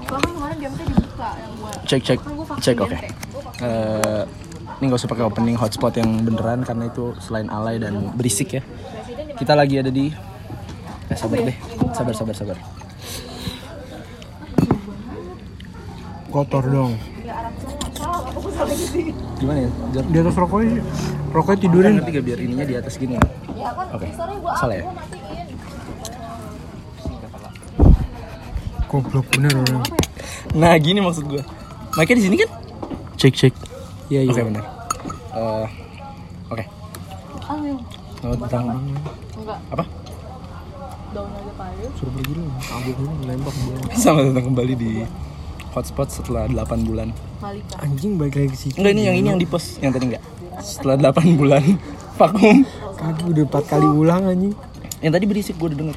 Bahkan kemarin diamnya dibuka yang gua. Cek cek Kan gua vaksin cek oke. diamnya. Gua vaksin. Eh, ini nggak usah pakai opening hotspot yang beneran karena itu selain alay dan berisik ya. Kita lagi ada di Eh, sabar deh. Sabar sabar sabar. kotor dong Gimana ya? Jar? di atas rokoknya rokoknya Kan tidurin nanti gak biar ininya di atas gini. Oke. Salah ya? goblok bener orang Nah, gini maksud gue. Makanya di sini kan? Cek cek. iya Oke iya benar. Eh, oke. Ah, yang Oh, tentang enggak apa? daun aja kayu. suruh pergi lu aku dulu nembak gua. Sama tentang kembali di hotspot setelah 8 bulan. Malika. anjing balik lagi ke situ Enggak ini yang ini yang di post yang tadi enggak. Setelah 8 bulan vakum. kaki udah empat kali ulang anjing Yang tadi berisik gue udah denger.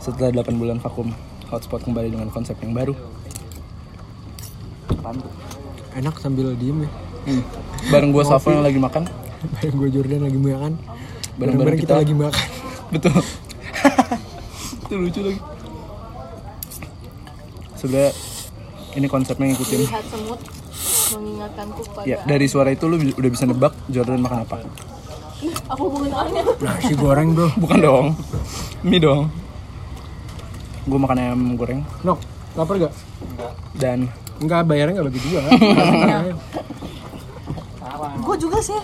Setelah 8 bulan vakum, hotspot kembali dengan konsep yang baru. enak sambil diem ya Hmm. Bareng gue Safo yang lagi makan. bareng gue Jordan lagi makan Bareng-bareng bareng-bareng kita, kita. lagi makan Betul. Itu lucu lagi. Sebenarnya ini konsepnya ngikutin Lihat semut mengingatkanku kepada Ya, dari suara itu lu bi- udah bisa nebak Jordan makan apa? aku hubungin orangnya. nasi goreng bro Bukan dong. Mie dong. Gue makan ayam goreng nok lapar gak dan Enggak, bayarnya enggak bagi dua. Gue juga sih.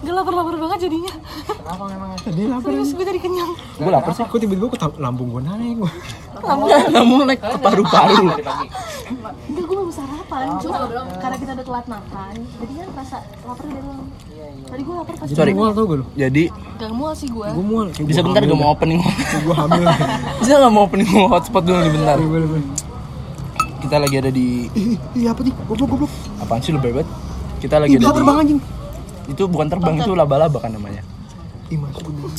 Gue lapar-lapar banget jadinya. Tadi lapar. Terus gue jadi kenyang. gue lapar sih. Aku tiba-tiba aku lambung gue naik gue. Namun naik ke paru-paru. Enggak, gue belum sarapan. Cuma karena kita udah telat makan, jadi kan rasa laparnya udah hilang. Tadi gue lapar pas Sorry. Jadi mual tau gak lu? Jadi Gak mual sih gue. Gue mual. Kayak bisa gua bentar gak hamil mau opening. dah. Gue hamil. bisa gak mau opening hotspot dulu nih bentar. Boleh, boleh, boleh. Kita lagi ada di Ih, ih, apa nih? Goblok, goblok. apaan sih lu bebet? Kita lagi Ih, ada bisa terbang di anjing. itu bukan terbang itu laba-laba kan namanya. Ih, masuk ke dalam.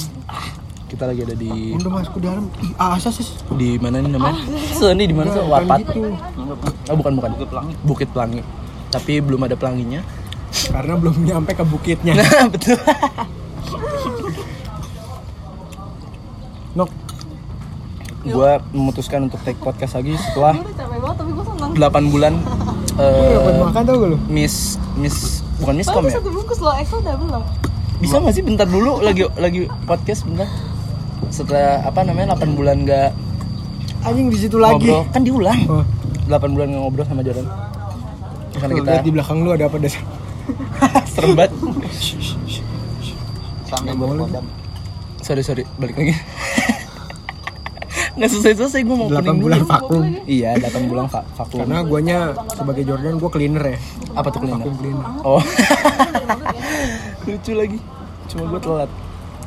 Kita lagi ada di Udah masuk ke dalam. Ih, ah, asas sih. di mana nih namanya? So, ini di mana sih? Bukan Warpat. gitu. Oh, bukan bukan. Bukit Pelangi. Bukit Pelangi. Tapi belum ada pelanginya. Karena belum nyampe ke bukitnya. Nah, betul. Nok, gue memutuskan untuk take podcast lagi setelah Gue udah capek banget, tapi gue seneng. 8 bulan gue eh, dapat makan tau gak lu? miss miss bukan miskom Padahal ya satu bungkus loh, Excel udah belum. bisa nggak sih bentar dulu lagi lagi podcast bentar setelah apa namanya 8 bulan gak Anjing di situ lagi. ngobrol kan diulang Oh, 8 bulan gak ngobrol sama Jordan karena tuh, kita lihat di belakang lu ada apa dasar? serem banget sampai berkorban sorry sorry balik lagi nggak selesai selesai gue mau 8 opening bulan dulu vakum. iya 8 bulan va- vakum Karena guanya sebagai Jordan gue cleaner ya. apa tuh cleaner? Vakum cleaner. Oh. Lucu lagi. Cuma gue telat.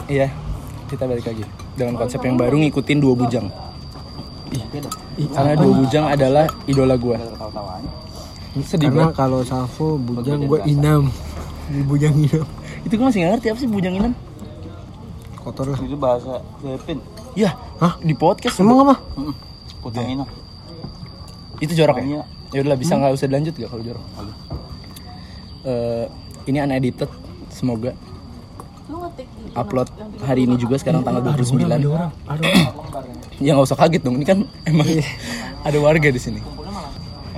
Iya, kita balik lagi dengan konsep yang baru ngikutin dua bujang. Ih, Karena dua bujang adalah idola gue. ketawa-tawanya Sedih Karena banget. kalau Safo bujang gue inam. Di bujang inam. Itu gue masih gak ngerti apa sih bujang inam? Kotor lah. itu bahasa Filipin Ya, Hah? di podcast. Emang apa? putang ini Itu jorok ya? Iya. Ya udahlah Hmm? bisa nggak usah dilanjut gak kalau jorok? Eh, ini unedited semoga Lu ngetik di upload hari ini juga sekarang tanggal 29 orang, ada orang. ya nggak usah kaget dong ini kan emang ada warga di sini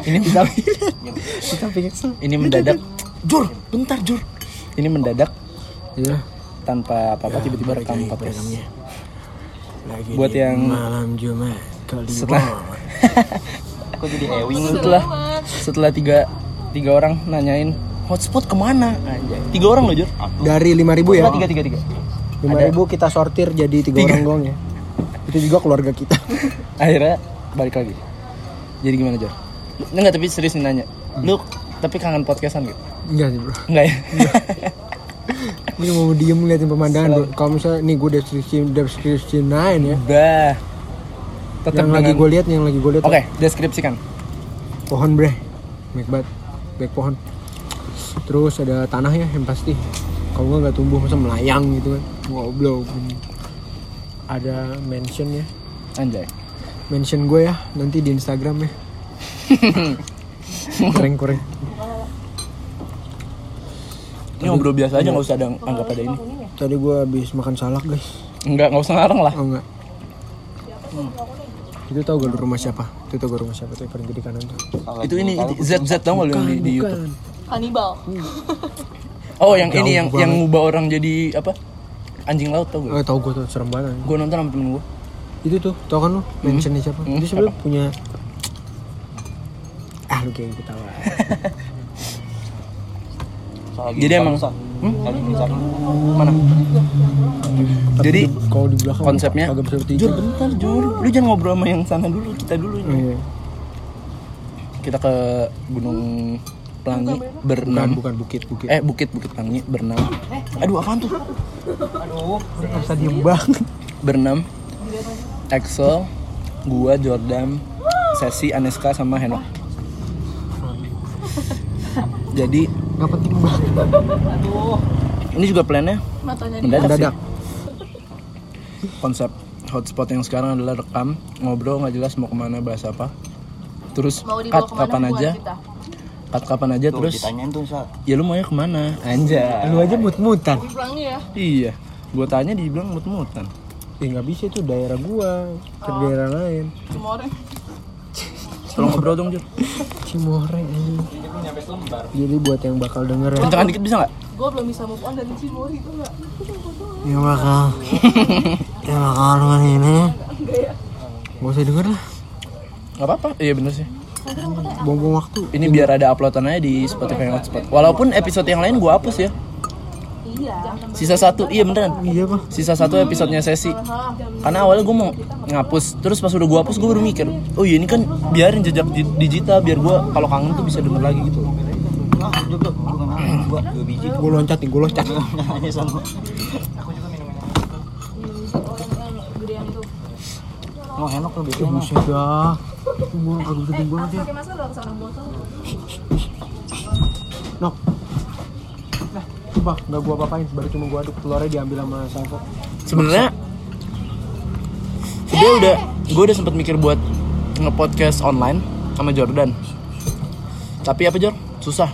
ini kita Kita pingsan. ini mendadak jur bentar jur ini mendadak Iya. tanpa apa apa tiba-tiba Ya, rekam iya. podcast Lagi Buat di yang- malam Jumat kali Setelah- Wong. kok jadi Ewing setelah setelah tiga tiga orang nanyain hotspot kemana Anjay. tiga orang loh jur dari 5000 ya. Tiga, tiga tiga tiga 5000 kita sortir jadi tiga orang doang ya. Itu juga keluarga kita. akhirnya balik lagi jadi gimana jur enggak tapi serius nih nanya lu tapi kangen podcastan gitu Enggak sih, Bro. Hmm. enggak ya Gue cuma mau diem ngeliatin pemandangan, Bro. Kalau misalnya nih gue deskripsi deskripsi nain ya. bah tetap Yang lagi dengan gue lihat, yang lagi gue lihat oke deskripsikan pohon, Bre. Baik banget. Baik pohon. Terus ada tanahnya yang pasti. Kalau nggak nggak tumbuh masa melayang gitu kan. Goblok. Ada mansion ya. anjay mention gue ya nanti di Instagram ya kurang kurang ini ngobrol biasa aja nggak usah ada anggap ada ini tadi gue habis makan salak guys Enggak, nggak usah ngarang lah. oh enggak itu tau gak lu rumah siapa itu tau gak rumah siapa tuh yang paling gede kanan tuh Kalau Itu ini kalau itu Z Z tau nggak lu yang di, di YouTube? Kanibal. Oh yang ini yang Jauh yang ngubah orang jadi apa? Anjing laut tau gak? eh tau gue tuh serem banget Gue nonton sama temen gue. itu tuh tau kan lu mentionnya siapa Hmm, dia sebenarnya punya ah lu kayak ketawa soal lagi Jadi emang- barusan. Lagi besar. Mana? Hmm. Tapi Jadi, di- kalau di belakang Konsepnya? agak besar tiga Jur bentar Jur, lu jangan ngobrol sama yang sana dulu, kita dulu ini. iya. Kita ke Gunung Pelangi bukan berenam. bukan bukit bukit Hmm. Eh bukit bukit Pelangi berenam. Aduh apaan tuh? Aduh, bisa diem banget Berenam. Axel, gua Jordan, Sesi, Aneska sama Henok. Jadi gak penting banget ini juga plannya Matanya di mendadak, sih. mendadak Konsep hotspot yang sekarang adalah rekam, ngobrol nggak jelas mau kemana bahas apa. Terus mau dibawa cut kemana kapan hubungan aja, kita? cut kapan aja tuh terus ditanyain tuh saat ya lu maunya kemana? Anjay. lu aja mut-mutan Di Pelangi ya. Iya, gua tanya dibilang mut-mutan. ya nggak bisa itu daerah gua ke Oh. daerah lain Semua orang. Tolong ngobrol dong, Jur. Cimore ini jadi buat yang bakal denger ya Kencengan dikit bisa nggak? Gue belum bisa move on dari Cimori itu enggak. yang bakal yang bakal denger ini gak usah denger lah Nggak apa-apa. Iya bener sih. buang-buang waktu Ini biar ada uploadan aja di Spotify Hotspot. Walaupun episode yang lain gua hapus ya. Iya. Sisa satu, iya beneran. iya pak Sisa satu episodenya sesi. Karena awalnya gua mau ngapus, terus pas udah gua hapus gua baru mikir, oh iya ini kan biarin jejak di- digital biar gua kalau kangen tuh bisa denger lagi gitu. ah udah bro bukan aku gua dua biji gue loncat nih gue loncat nanya sama Gede yang itu. oh henok lu ya biasanya Henok. buset dah gue kagak gede banget ya Pakai masa lu harus orang botol. Nok. Nah, coba nggak gua apa-apain, baru cuma gua aduk telurnya diambil sama Salvo. Sebenarnya dia udah gua udah sempet mikir buat nge-podcast online sama Jordan. Tapi apa Jor? Susah.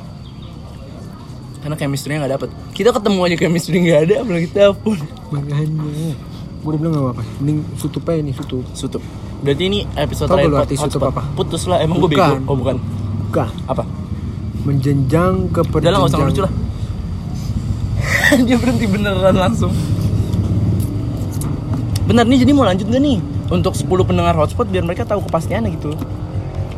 Karena chemistry-nya nggak dapet. Kita ketemu aja chemistry nggak ada, apalagi telepon. Makanya. Gua udah bilang nggak apa-apa. Mending sutup aja nih sutup. Sutup. Berarti ini episode Tau terakhir gak lu pot- arti sutup hotspot. apa? Putus lah, emang gue bego. Bukan. Oh bukan. Gak. Apa? Menjenjang ke Udah perjenjang. lah, nggak usah lucu lah. Dia berhenti beneran langsung. Bener nih, jadi mau lanjut gak nih? Untuk 10 pendengar hotspot biar mereka tahu kepastiannya gitu.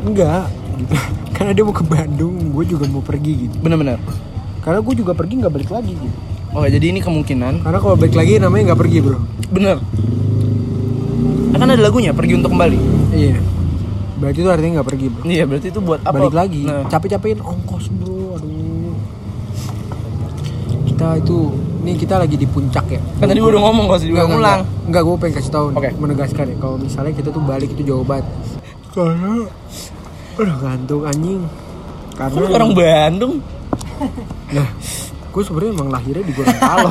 Enggak. Gitu. Karena dia mau ke Bandung, gua juga mau pergi gitu. Bener-bener. Karena gua juga pergi nggak balik lagi gitu. Oh, jadi ini kemungkinan. Karena kalau balik lagi namanya nggak pergi bro. Bener. Kan ada lagunya, pergi untuk kembali. Iya. Berarti itu artinya nggak pergi bro. Iya, berarti itu buat apa? Balik lagi. Nah, Capek-capekin ongkos bro. Aduh. Kita itu, ini kita lagi di puncak ya. kan tadi gue udah ngomong, gak usah Enggak, diulang enggak, ulang. Enggak, enggak gue pengen kasih tahu nih, Oke. menegaskan ya kalau misalnya kita tuh balik itu jauh banget. Karena udah ngantuk anjing. Karena Kan lu orang Bandung. Nah, gue sebenarnya emang lahirnya di Gorontalo.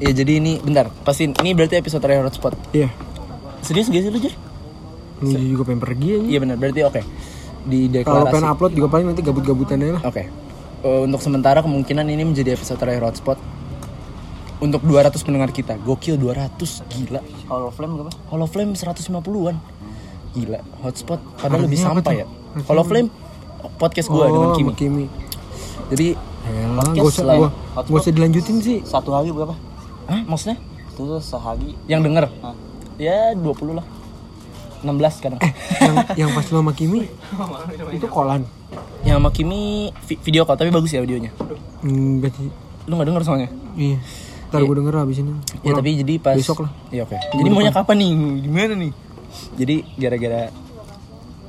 Ya jadi ini bentar, pasti ini berarti episode terakhir hotspot. Iya. Serius gak sih lu, Jer? Lu juga pengen pergi anjing. Iya benar, berarti oke. Di Kalau deklarasi. pengen upload juga paling nanti gabut-gabutan aja lah. Oke. Eh, untuk sementara kemungkinan ini menjadi episode terakhir hotspot untuk 200 pendengar kita. Gokil 200, gila. kalau flame gak apa Hollow Flame 150-an. Gila, hotspot padahal lebih Artinya apa Oh, sampai ya. tuh? Hollow Flame podcast gue dengan Kimi. sama Kimi. Jadi, Elah, Podcast gak usah, lah ya. gua, gua usah dilanjutin sih. satu hari berapa hah, maksudnya terus sehari yang denger? Hah. Ya 20 lah. 16 kadang. yang, yang pas lu sama Kimi, itu kolan. yang sama Kimi vi- video call tapi bagus ya videonya. Hmm, berarti, Lu gak denger soalnya? iya. Ntar gue denger lah abis ini. Ya tapi jadi pas Besok lah. Iya oke. Jadi maunya kapan nih? Gimana nih? Jadi gara-gara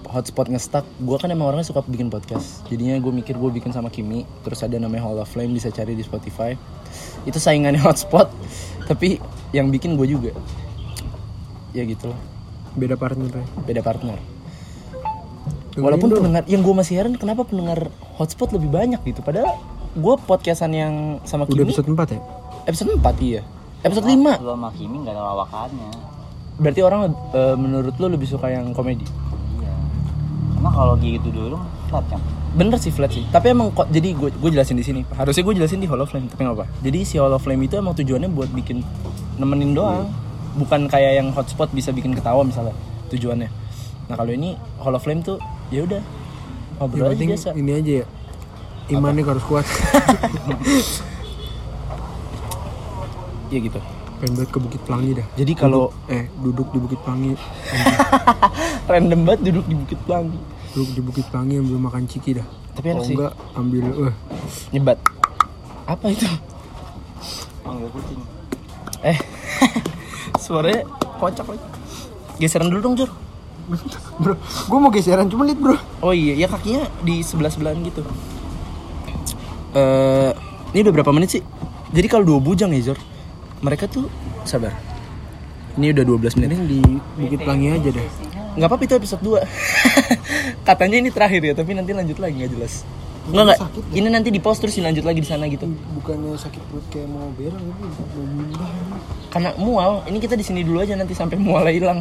hotspot ngestak, gue kan emang orangnya suka bikin podcast. Jadinya gue mikir gue bikin sama Kimi, terus ada namanya Hall of Flame bisa cari di Spotify. Itu saingannya hotspot, tapi yang bikin gue juga. Ya gitu lah, Beda partner ya. beda partner. Dengerin Walaupun dong. pendengar, yang gue masih heran kenapa pendengar hotspot lebih banyak gitu. Padahal gue podcastan yang sama Udah Kimi episode 4 ya? episode 4 iya. Episode 5 lu sama Kimi gak ada lawakannya Berarti orang eh, menurut lo lebih suka yang komedi? iya karena kalau gitu dulu flat kan Bener sih flat sih. Tapi emang kok jadi gue gue jelasin di sini. Harusnya gue jelasin di Hall of Flame, tapi nggak apa. Jadi si Hall of Flame itu emang tujuannya buat bikin nemenin doang. bukan kayak yang hotspot bisa bikin ketawa misalnya tujuannya nah kalau ini Hall of Flame tuh ya udah Yang ngobrol aja penting biasa ini aja ya. Imannya harus kuat. iya ya gitu Pengen banget ke Bukit Pelangi dah. jadi kalau Duduk- eh duduk di Bukit Pelangi, random banget duduk di Bukit Pelangi duduk di Bukit Pelangi ambil makan ciki dah. tapi Kalau enak sih Oh, enggak ambil eh nyebat apa itu Manggil kucing. eh suaranya kocak lagi geseran dulu dong Jor Bro, gue mau geseran cuma lihat bro. Oh iya, ya kakinya di sebelah sebelahan gitu. Eh, ini udah berapa menit sih? Jadi kalau dua bujang ya Zor, mereka tuh sabar. Ini udah 12 menit. Mending di Bukit Pelangi aja deh. Nggak apa-apa itu episode 2 Katanya ini terakhir ya, tapi nanti lanjut lagi nggak jelas. Nggak nggak. sakit ya? Ini nanti di post terus dilanjut lagi di sana gitu. Bukannya sakit perut kayak mau berang gitu, mau muntah. Karena mual, ini kita di sini dulu aja nanti sampai mualnya hilang.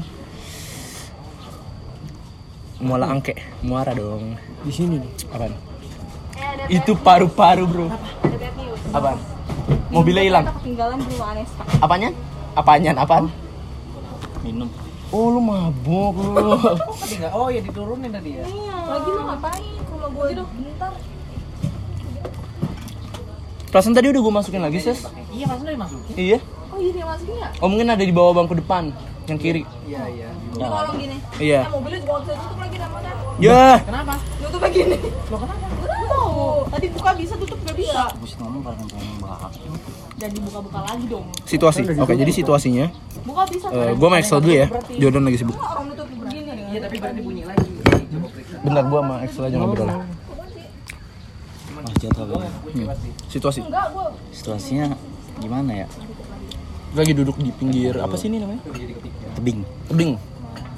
Muala angke, muara dong. Di sini nih. Eh, Apaan? Itu paru-paru bro. Ada bad news. Apaan? Mobilnya hilang. Kita ketinggalan di rumah Aneska. Apanya? Apanya? Apaan? Minum. Oh lu mabuk lu. Oh ya diturunin tadi ya. Lagi lu ngapain? Kalau gue duduk bentar. Perasaan tadi udah gue masukin lagi ses. Iya maksudnya dimasukin. Iya. Oh iya dia masukin ya? Oh mungkin ada di bawah bangku depan yang kiri. Iya iya. Di kolong gini. Iya. Eh, mobilnya juga nggak bisa tutup lagi namanya. Ya. Kenapa? Tutup begini. Lo kenapa? Gak mau. Tadi buka bisa tutup nggak bisa. Habis ngomong kalian pengen bahas. Dan dibuka-buka lagi dong. Situasi. Oke jadi situasinya. Buka bisa. eh, gue make Excel dulu ya. Jordan lagi sibuk. Orang nutup begini. Iya tapi berarti bunyi. Bentar gue sama Excel aja ngobrol. Mas jatuh apa ya? Hmm. Situasi. Enggak, gue Situasinya gimana ya? Lagi duduk di pinggir apa sih ini namanya? Tebing. Tebing.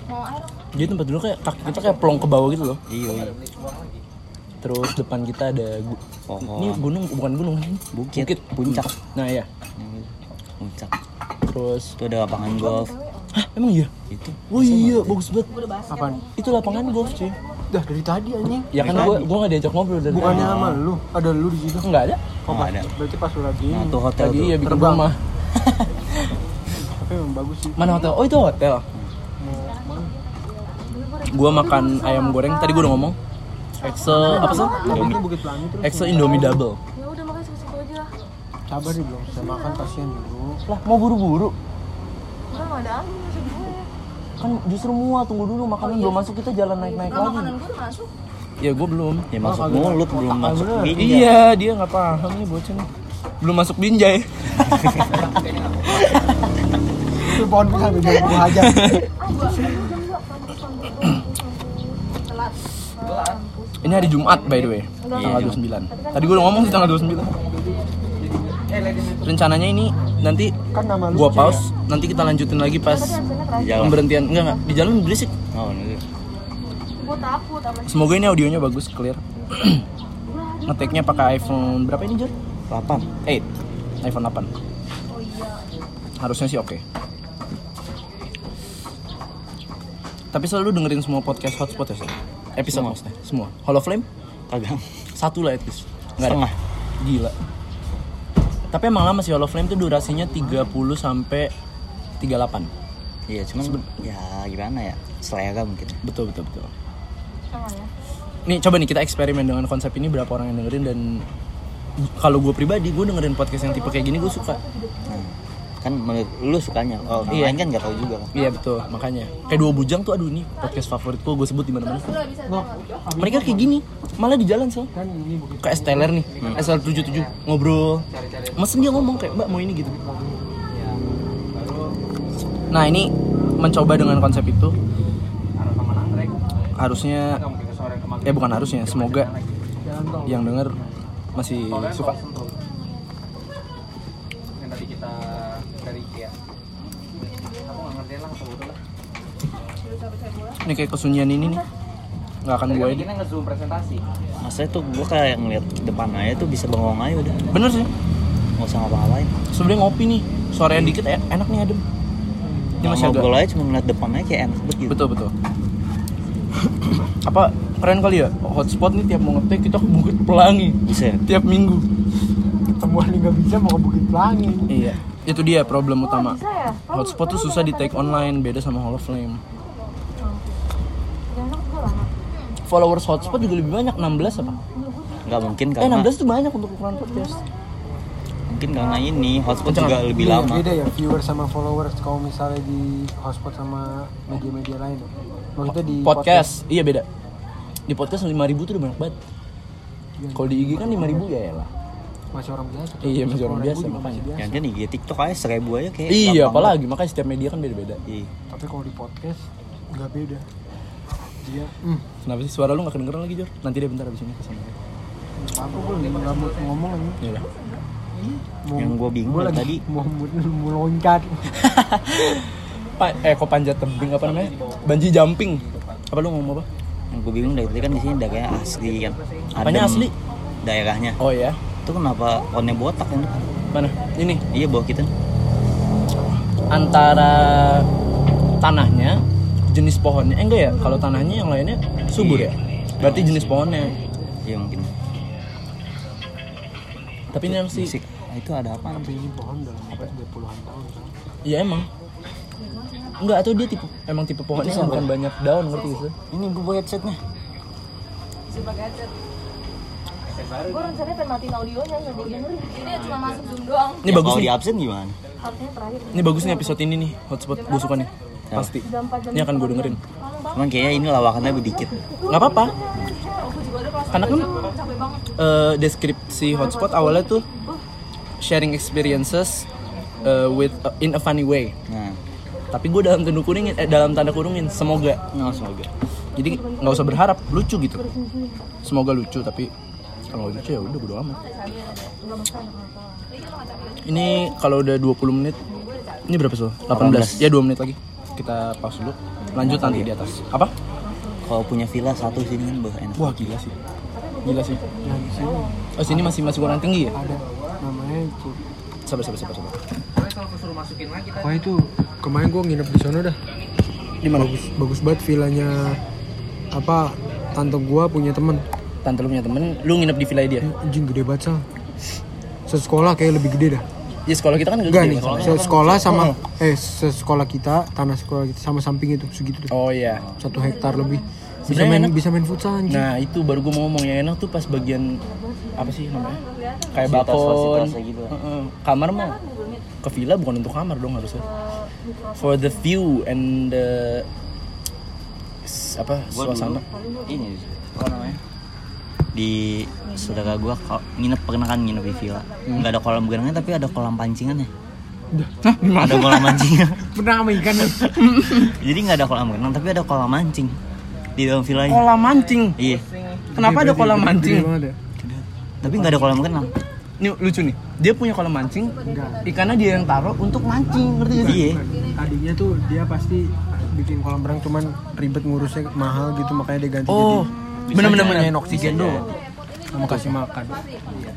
mau air. Jadi tempat dulu kayak kaki kita kayak plong ke bawah gitu loh. Iya. iya. Terus depan kita ada gu- Pohon. ini gunung bukan gunung Oh. Bukit. bukit puncak. Nah iya. Puncak. Terus Itu ada lapangan golf. Hah, emang iya? Itu. Wah iya, bagus banget. Gue udah bahas. ya, Apaan? Itu lapangan golf cuy. Dah dari tadi anjing. Ya kan gue gue gak diajak ngobrol dari Bukannya sama lu, ada lu di situ. Enggak ada. Oh, nggak ada. Berarti pas lu lagi Nah, ini. tuh hotel Tadi tuh. ya bikin Terbang. rumah. Tapi emang bagus sih. Mana hotel? Oh itu hotel. Gue makan ayam goreng. Tadi gue udah ngomong. Excel apa sih? Tapi itu Bukit Pelangi terus Excel Indomie double. Ya udah makanya situ-situ aja lah. sabar deh belum bisa makan pasien dulu. Lah mau buru-buru? Enggak nggak ada angin masuk gue. Kan justru muat. Tunggu dulu makanan belum masuk kita jalan naik-naik Nah, lagi. makanan gue udah masuk. Ya gue belum. Ya masuk mulut belum masuk bener. gigi. ya. Iya dia nggak paham nih bocah nih. Belum masuk binjai. Itu pohon pisang udah gua hajar. Ah, gue jam dua. Kampus, kampus, kampus. Telat. Ini hari Jumat by the way. Tanggal 29. Tadi gue udah ngomong sih tanggal 29. Rencananya ini nanti Kan nama lu. gua pause, nanti kita lanjutin lagi pas Di jalan. pemberhentian. Enggak enggak, di jalan berisik. Oh, ini. Gue takut sama Semoga ini audionya bagus, clear. Ngeteknya pakai iPhone berapa ini, Jor? Papan. 8. iPhone 8. Oh iya. Harusnya sih oke. Tapi selalu dengerin semua podcast hotspot ya, Sor? Episode maksudnya, semua. Hall of Flame? Kagak. Satu lah at least. Nggak ada. Setengah. Gila. Tapi emang lama sih Hall of Flame tuh durasinya 30 sampai 38. Iya, cuman ya gimana ya? Selera mungkin. Betul, betul, betul. Sama ya. Nih coba nih kita eksperimen dengan konsep ini berapa orang yang dengerin dan kalau gue pribadi gue dengerin podcast yang tipe kayak gini gue suka. Nah, kan menurut lu sukanya. Oh, orang Iya. lain kan nggak tahu juga kan. Iya betul makanya kayak dua bujang tuh aduh nih podcast favorit gue gue sebut di mana mana. Udah bisa tengok. Mereka kayak gini malah di jalan sih. Kan ini Hmm. Iya. Bukit Kayak Stellar nih SL 77 ngobrol. Mesen dia ngomong kayak mbak mau ini gitu. Iya, Nah ini mencoba dengan konsep itu harusnya eh bukan harusnya semoga Jalan tol. yang denger masih suka. yang tadi kita dari IKEA aku nggak ngertiin langsung udah lah Ini kayak kesunyian ini nih nggak akan gue edit. ini nge-zoom presentasi Maksudnya tuh gua kayak ngeliat depan aja tuh bisa bengong aja udah. Bener sih. Nggak usah ngapa-ngapain. Sebenarnya ngopi nih. Suaranya dikit en- enak nih adem. Ini Yang masih agak. ngobrol aja cuma ngeliat depan aja kayak enak banget gitu. Betul betul. Apa keren kali ya hotspot nih tiap mau ngetek kita ke Bukit Pelangi Bisa ya? tiap minggu. Temuan yang nggak bisa mau ke Bukit Pelangi. Iya. itu dia problem utama bisa ya? Kamu- hotspot tuh kamu susah di udah take online beda sama hall of flame Jangan gue lama. followers hotspot juga lebih banyak 16 apa Gak mungkin eh karena 16 tuh banyak untuk ukuran podcast mungkin karena ini hotspot Jangan. juga lebih Iya, lama. beda ya viewers sama followers kalau misalnya di hotspot sama media-media lain ya? maksudnya di podcast. iya beda di podcast 5000 tuh udah banyak banget Iya. kalau di IG kan 5000 ya elah podcast masih orang biasa tuh. Iya, masih orang Sepuluh biasa, ribu juga makanya. masih biasa. Yang kan IG TikTok aja seribu aja kayak. iya gampang apalagi makanya setiap media kan beda-beda banget. Iya. tapi kalau di podcast nggak beda dia hmm, kenapa sih suara lu gak kedengeran lagi Jor? nanti deh bentar abis ini kesana aku gue nggak mau ngomong lagi ya udah mau, Yang gua bingung gua dari lagi tadi. mau, mau, mau loncat Pa- eh kok panjat tebing apa namanya banji jumping apa lu ngomong apa Yang gue bingung dari tadi kan di sini daerahnya asli kan. Apanya Adem asli? Daerahnya. oh ya Itu kenapa onnya botak kan? mana ini Iya bawa kita. antara tanahnya jenis pohonnya eh, enggak ya kalau tanahnya yang lainnya subur ya berarti jenis pohonnya Iya mungkin. tapi ini yang sih Musik. Nah, itu ada apa? tapi ini pohon udah lama banget udah puluhan tahun kan ya emang enggak atau dia tipe emang tipe pohonnya yang bukan banyak daun ngerti gitu Ini gue bawa headsetnya. Gue rencananya pengen matiin audionya nggak gue dengerin. Jadi cuma masuk zoom doang. ini Ya, bagus kalau nih di absen gimana? Harusnya terakhir. ini bagus nih episode ini nih hotspot gue suka nih pasti Jam 4 jam. ini akan gue dengerin Cuman kayaknya ini lawakannya lebih dikit. nggak apa-apa Gue juga ada kelas karena kan capek banget. eh, deskripsi hotspot awalnya tuh sharing experiences eh, with in a funny way Nah, tapi gue dalam tanda kurungin eh, dalam tanda kurungin semoga nggak Nah, semoga. jadi nggak usah berharap lucu gitu semoga lucu tapi kalau nggak lucu ya udah bodo amat ini kalau udah 20 menit ini berapa sih 18. 18. ya 2 menit lagi kita pause dulu lanjut nanti di atas apa Kalau punya villa satu sini kan bah enak. wah gila sih gila sih oh sini masih masih kurang tinggi ya ada namanya itu sabar sabar sabar sabar wah itu kemarin gue nginep di sono dah di mana bagus bagus banget villanya apa tante gua punya temen tante lu punya temen lu nginep di villa dia anjing gede banget sal sesekolah kayak lebih gede dah ya sekolah kita kan nggak enggak gede nih masalahnya. sekolah sama eh sekolah kita tanah sekolah kita sama samping itu segitu tuh oh iya satu hektar lebih bisa Sebenarnya main enak. bisa main futsal anjing nah itu baru gue mau ngomong yang enak tuh pas bagian apa sih namanya kayak Fasilitas- balkon fasilitas gitu. Heeh. kamar mah ke villa bukan untuk kamar dong harusnya for the view and the s- apa Gua dulu, suasana Ini apa namanya? Di saudara gua kal- nginep pernah kan nginep di villa. Nggak ada kolam berenangnya tapi ada kolam pancingannya. Ada kolam pancingan. pernah sama ikan nih Jadi nggak ada kolam renang tapi ada kolam mancing di dalam villanya. kolam mancing Iya. kenapa ada kolam mancing ya. Tapi nggak ada kolam renang. ini lucu nih dia punya kolam mancing ikannya dia yang taruh untuk mancing ngerti gak sih Iya. tadinya tuh dia pasti bikin kolam renang cuman ribet ngurusnya mahal gitu makanya dia ganti oh jadi bener-bener bener. Iya. nanyain oksigen doang sama kasih makan Iya.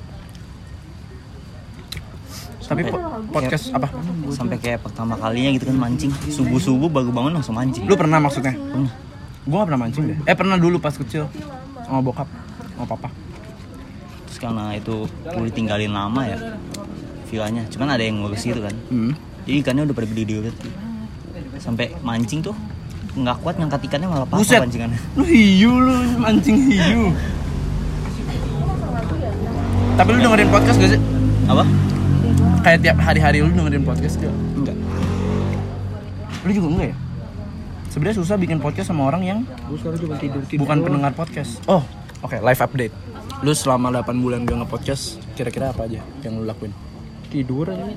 tapi po- podcast apa Sampai kayak pertama kalinya gitu kan mancing. Subuh subuh baru bangun langsung mancing. lu pernah maksudnya gue gak pernah mancing deh eh pernah dulu pas kecil sama bokap sama papa Terus karena itu udah tinggalin lama ya villanya. Cuman ada yang ngurus gitu kan. hmm. Jadi ikannya udah pada gede banget. Sampai mancing tuh nggak kuat ngangkat ikannya malah Buset. patah pancingannya. lu hiu lu mancing hiu tapi lu dengerin podcast gak sih Apa? kayak tiap hari-hari lu dengerin podcast gak Enggak. lu juga enggak ya sebenarnya susah bikin podcast sama orang yang gue sekarang cuma tidur tidur bukan pendengar podcast oh oke live update lu selama 8 bulan gak nge-podcast kira-kira apa aja yang lu lakuin tidur aja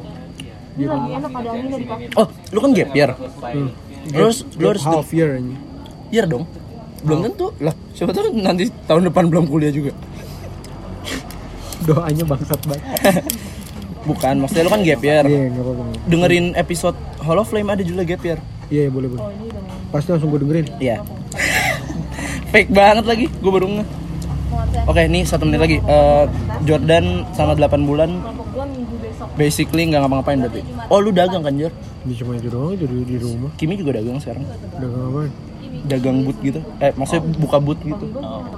Ini lagi enak ada angin dari kaki. oh lu kan gap year lu harus lu harus half year aja year dong belum tentu lah siapa tahu nanti tahun depan belum kuliah juga doanya bangsat banget bukan maksudnya lu kan gap year iya nggak apa-apa nggak apa-apa. dengerin episode Hall of Flame ada juga gap year iya iya, boleh boleh pasti langsung gue dengerin Iya. Fake banget lagi, gue baru nge. Oke, nih satu menit lagi. Eh, Jordan sama 8 bulan Gue minggu besok. basically nggak ngapa-ngapain berarti. Oh, lu dagang kan, Jor? ini cuma itu doang itu di, di rumah Kimi juga dagang sekarang. udah nggak apa Dagang boot gitu. Eh, maksudnya buka boot gitu.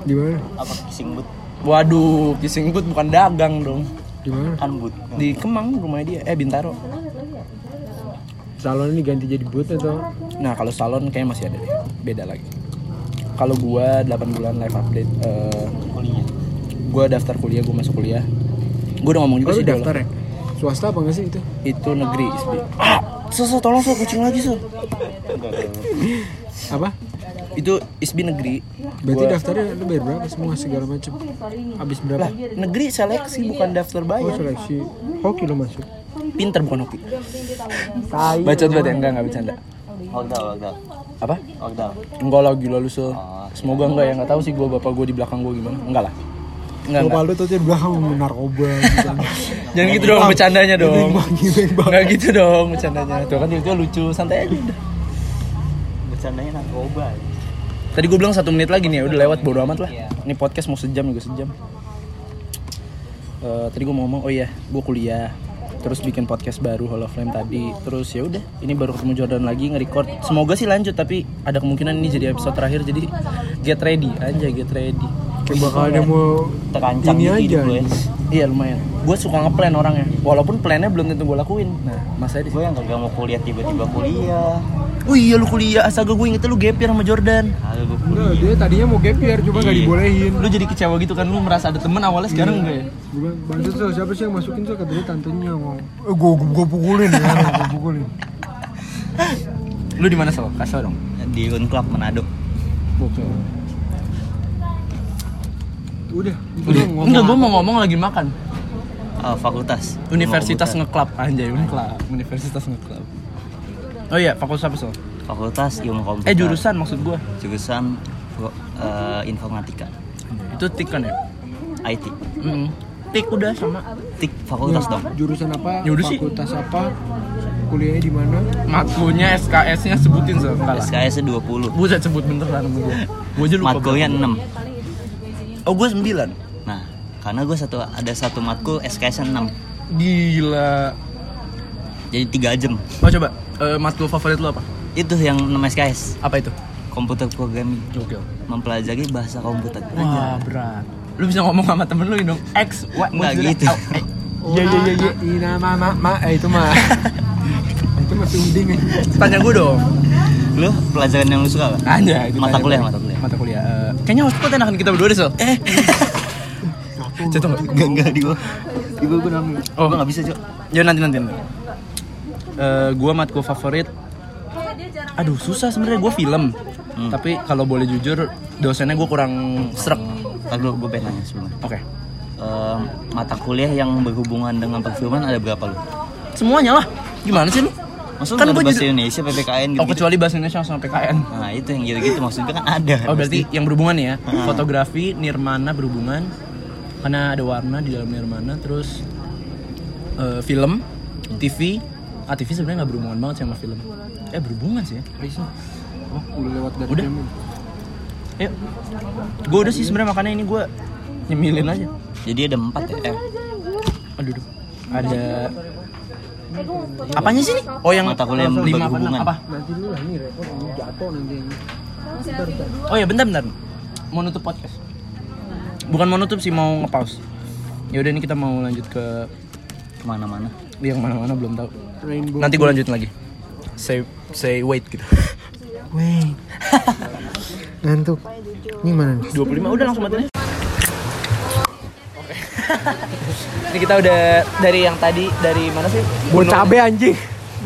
di mana Apa kissing booth? Waduh, kissing boot bukan dagang dong. di mana Kan booth. Di Kemang rumahnya dia. Eh, Bintaro. salon ini ganti jadi boot atau Nah kalau salon kayaknya masih ada deh, beda lagi. Kalau gua 8 bulan live update, eh gua daftar kuliah, gua masuk kuliah. Gua udah ngomong Lu juga sih dulu. daftar ya? Swasta apa enggak sih itu? Itu negeri ISBI. Ah, so, so, tolong so, kucing lagi so. Apa? Itu ISBI negeri. Berarti Gua- daftarnya lu bayar berapa semua segala macam? Habis berapa? lah negeri seleksi bukan daftar Oh bayar. seleksi hoki lu masuk. Pinter bukan hoki. Bacot banget ya? enggak enggak bercanda. Lockdown, lockdown, Apa? lockdown. Enggak lah gila lu so. Semoga enggak ya enggak tahu sih gua bapak gua di belakang gua gimana. Enggak lah. Enggak, Bapak enggak. lu tuh di belakang narkoba gitu. Jangan gitu dong bercandanya dong. Gimik banget. Enggak gitu dong bercandanya. Tuh kan itu lucu, santai aja udah. Bercandanya narkoba. Tadi gue bilang satu menit lagi nih, ya, udah lewat bodo amat lah. Ini podcast mau sejam juga sejam. Eh, tadi gue mau ngomong, oh iya, gue kuliah, terus bikin podcast baru Hall of Flame tadi, terus ya udah, ini baru ketemu Jordan lagi nge-record. Semoga sih lanjut, tapi ada kemungkinan ini jadi episode terakhir, jadi get ready aja, get ready. Kayak bakal ada mau Terancang ini aja. gitu hidup gue. Iya lumayan. Gue suka ngeplan orangnya, walaupun plannya belum tentu gue lakuin. Nah, masanya di Gue yang kagak mau kuliah tiba-tiba kuliah. Oh iya lu kuliah, astaga gue ingetnya lu gapir sama Jordan. Kagak gue Enggak, dia kuliah. tadinya mau gap year cuma gak Iya. dibolehin. Lu jadi kecewa gitu kan, lu merasa ada temen awalnya sekarang enggak ya? Gua bilang, Bangsat so, siapa sih yang masukin so katanya tantenya mau. Eh, gua gua, gua pukulin ya, gua pukulin. Lu di mana Sol? Kasih tau dong. Di Unclub Manado. Udah, itu Udah, dong, ngomong enggak, gue apa? mau ngomong lagi makan. Ah, fakultas. Universitas Fakultas. ngeklub anjay, ngeklub. Universitas ngeklub. Oh iya, fakultas apa Sol? Fakultas Ilmu Komputer. Eh jurusan maksud gue. Jurusan gua- eh, informatika. Itu tik kan ya? IT. Mm Tik udah sama. Tik fakultas Iya. dong. jurusan apa, Ya udah sih. fakultas apa, kuliahnya di mana? Matkulnya SKS-nya sebutin Sol. Enggak lah. SKS 20. Buset sebut bentar lah nama gue. Gue aja lupa. Matkulnya 6. Oh gue 9. Nah, karena gue satu ada satu matkul SKS 6. Gila. Jadi 3 jam. Mau coba eh, matkul favorit lu apa? Itu yang 6 SKS, Apa itu? komputer programming. Gokil. Mempelajari bahasa komputer. Wah, berat. Lu bisa ngomong sama temen lu dong. X, Y, Nggak Mozilla, gitu. L, A. Iya, iya, iya, iya. Ina ma ma ma, eh itu mah. itu eh. masih uding aja. Tanya gue dong. Lu pelajaran yang lu suka apa? Aja. itu Mata tanya kuliah, gue. mata kuliah. Mata kuliah. eh, kayaknya hotspot enakan kita berdua deh, Sol. Eh. Jatuh nggak? Enggak, enggak di gua. Di gua gua namanya. Oh. Gua enggak bisa, Cok. Ya nanti nanti. nanti. Eh, gua matkul favorit Aduh susah sebenarnya gue film Hmm. Tapi kalau boleh jujur dosennya gue kurang serak Ntar dulu, gua pengen nanya sebelumnya. Oke Eh, mata kuliah yang berhubungan dengan perfilman ada berapa lu? Semuanya lah Gimana sih lu? Maksud Kan kan gua bahasa jadi- Indonesia, PPKN gitu. Oh kecuali bahasa Indonesia sama PKN Nah, itu yang gitu-gitu maksudnya kan ada. Oh berarti yang berhubungan nih ya Heeh. Fotografi, nirmana berhubungan Karena ada warna di dalam nirmana Terus eh, film, TV Ah TV sebenarnya nggak berhubungan banget sih sama film Eh berhubungan sih ya Oh, udah lewat dari Udah. jam. Ayo Gue udah sih sebenarnya makanya ini gue nyemilin aja Jadi ada empat ya. Eh, Aduh duh. Ada Apanya sih nih? Oh yang Mata kuliah yang lima apa enam? berhubungan. apa? Nanti lu lah ini repot, ini jatuh nanti. ini. Oh ya bentar bentar. Mau nutup podcast. Bukan mau nutup sih mau nge-pause. Ya udah ini kita mau lanjut ke kemana-mana. yang mana-mana belum tahu. Rainbow. Nanti gue lanjutin lagi. Say say wait gitu. Weh. Ngantuk. Ini mana nih? 25 udah langsung matiin. aja. Ini kita udah dari yang tadi dari mana sih? Buat cabe anjing.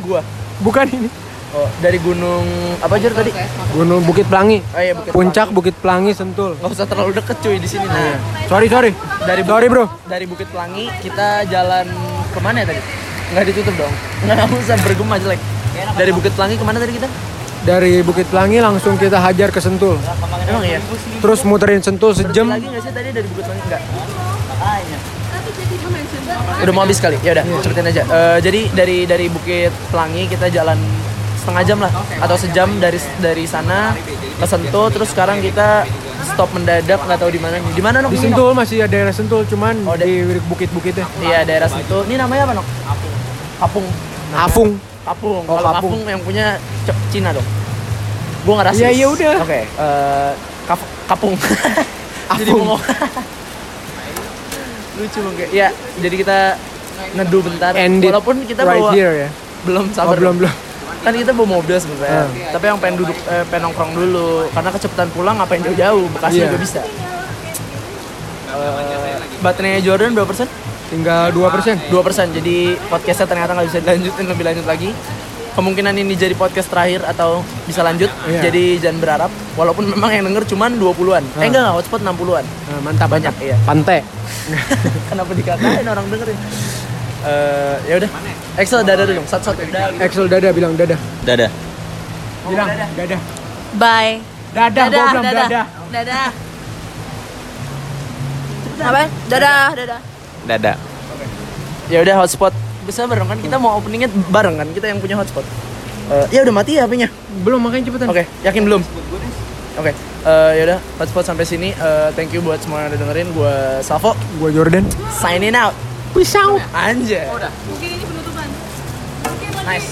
Gua. Bukan ini. Oh, dari gunung apa aja tadi? Gunung Bukit Pelangi. Oh, iya, Bukit Puncak Bukit Pelangi Sentul. Gak usah terlalu deket cuy di Iya. sini nah. Sorry, sorry. Dari Sorry, bro. dari Bukit Pelangi kita jalan kemana ya tadi? Nggak ditutup dong. Nggak usah bergema jelek. Dari Bukit Pelangi kemana tadi kita? Dari Bukit Pelangi langsung kita hajar ke Sentul. Emang iya? Terus muterin Sentul Jam sejam. lagi nggak sih tadi dari Bukit Pelangi? Nggak. Udah mau habis kali. Ya udah, ceritain aja. Eh, jadi dari dari Bukit Pelangi kita jalan setengah jam lah atau sejam dari dari sana ke Sentul terus sekarang kita stop mendadak nggak tahu di mana nih. Di mana Nok? Di Ini, Nok? Sentul masih ada daerah Sentul, cuman Oh, da- di bukit-bukitnya. Iya, daerah Sentul. Ini namanya apa, Nok? Kapung. Afung. Apung, Oh, kalau Apung Apung. yang punya C- Cina dong. Gua nggak rasis. Iya, iya udah. Oke, eh, kap- kapung. jadi Apung. mau Lucu bang kayak- Ya, jadi kita neduh bentar. End it Walaupun kita right bawa here ya. belum Oh, sabar. belum Hmm. belum. kan kita bawa mobil sebenarnya tapi yang pengen duduk eh, pengen nongkrong dulu karena kecepatan pulang ngapain jauh-jauh bekasi Iya. juga bisa Eh, baterainya Jordan berapa persen Tinggal 2 persen. dua persen jadi podcastnya ternyata nggak bisa dilanjutin lebih lanjut lagi kemungkinan ini jadi podcast terakhir atau bisa lanjut Iya. jadi jangan berharap walaupun memang yang denger cuman 20-an eh enggak enggak hotspot 60-an Nah, mantap banyak iya Pantai. kenapa dikatain orang dengerin Eh ya udah Excel dada dulu dong satu-satu Dadah. Axel dada bilang dada. Dadah. Bilang dada. Bye. Dada, gua Dadah, bilang dadah. dada. Dadah. Apa? Dadah, dadah. Dadah. ya udah hotspot bisa bareng kan kita mau openingnya bareng kan kita yang punya hotspot Eh, ya udah mati ya hpnya Belum makanya cepetan. oke yakin belum oke eh, ya udah hotspot sampai sini Eh, thank you buat semua yang udah dengerin gue Savo Gua Jordan. signing out peace out anjay Mungkin ini penutupan. Mungkin nice